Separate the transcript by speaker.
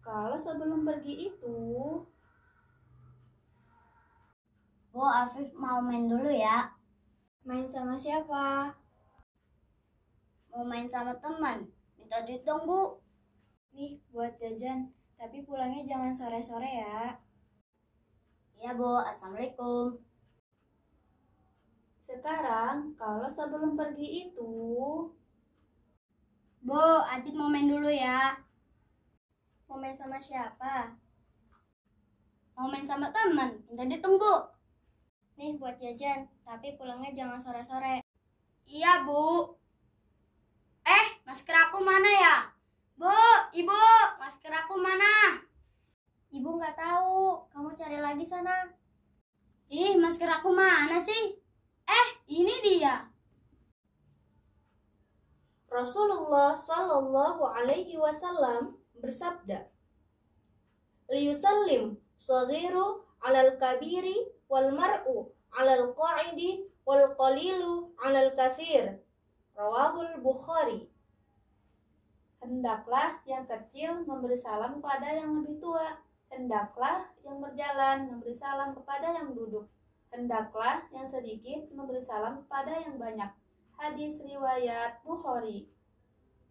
Speaker 1: Kalau sebelum pergi itu,
Speaker 2: Bu, Afif mau main dulu ya.
Speaker 3: Main sama siapa?
Speaker 2: Mau main sama teman. Minta duit dong, Bu.
Speaker 3: Nih, buat jajan. Tapi pulangnya jangan sore-sore ya.
Speaker 2: Iya, Bu. Assalamualaikum.
Speaker 1: sekarang kalau sebelum pergi itu,
Speaker 2: Bu, Acit mau main dulu ya.
Speaker 3: Mau main sama siapa?
Speaker 2: Mau main sama teman. Minta duit dong, Bu.
Speaker 3: Nih, buat jajan. Tapi pulangnya jangan sore-sore.
Speaker 2: Iya, Bu. Eh, masker aku mana ya? Bu, Ibu, masker aku mana?
Speaker 3: Ibu nggak tahu. Kamu cari lagi sana.
Speaker 2: Ih, masker aku mana sih? Eh, ini dia.
Speaker 1: Rasulullah Shallallahu Alaihi Wasallam bersabda, "Liusallim sagiru alal kabiri wal mar'u alal qa'idi wal qalilu alal kathir." Rawahul Bukhari. Hendaklah yang kecil memberi salam kepada yang lebih tua. Hendaklah yang berjalan memberi salam kepada yang duduk. Hendaklah yang sedikit memberi salam kepada yang banyak. Hadis riwayat Bukhari.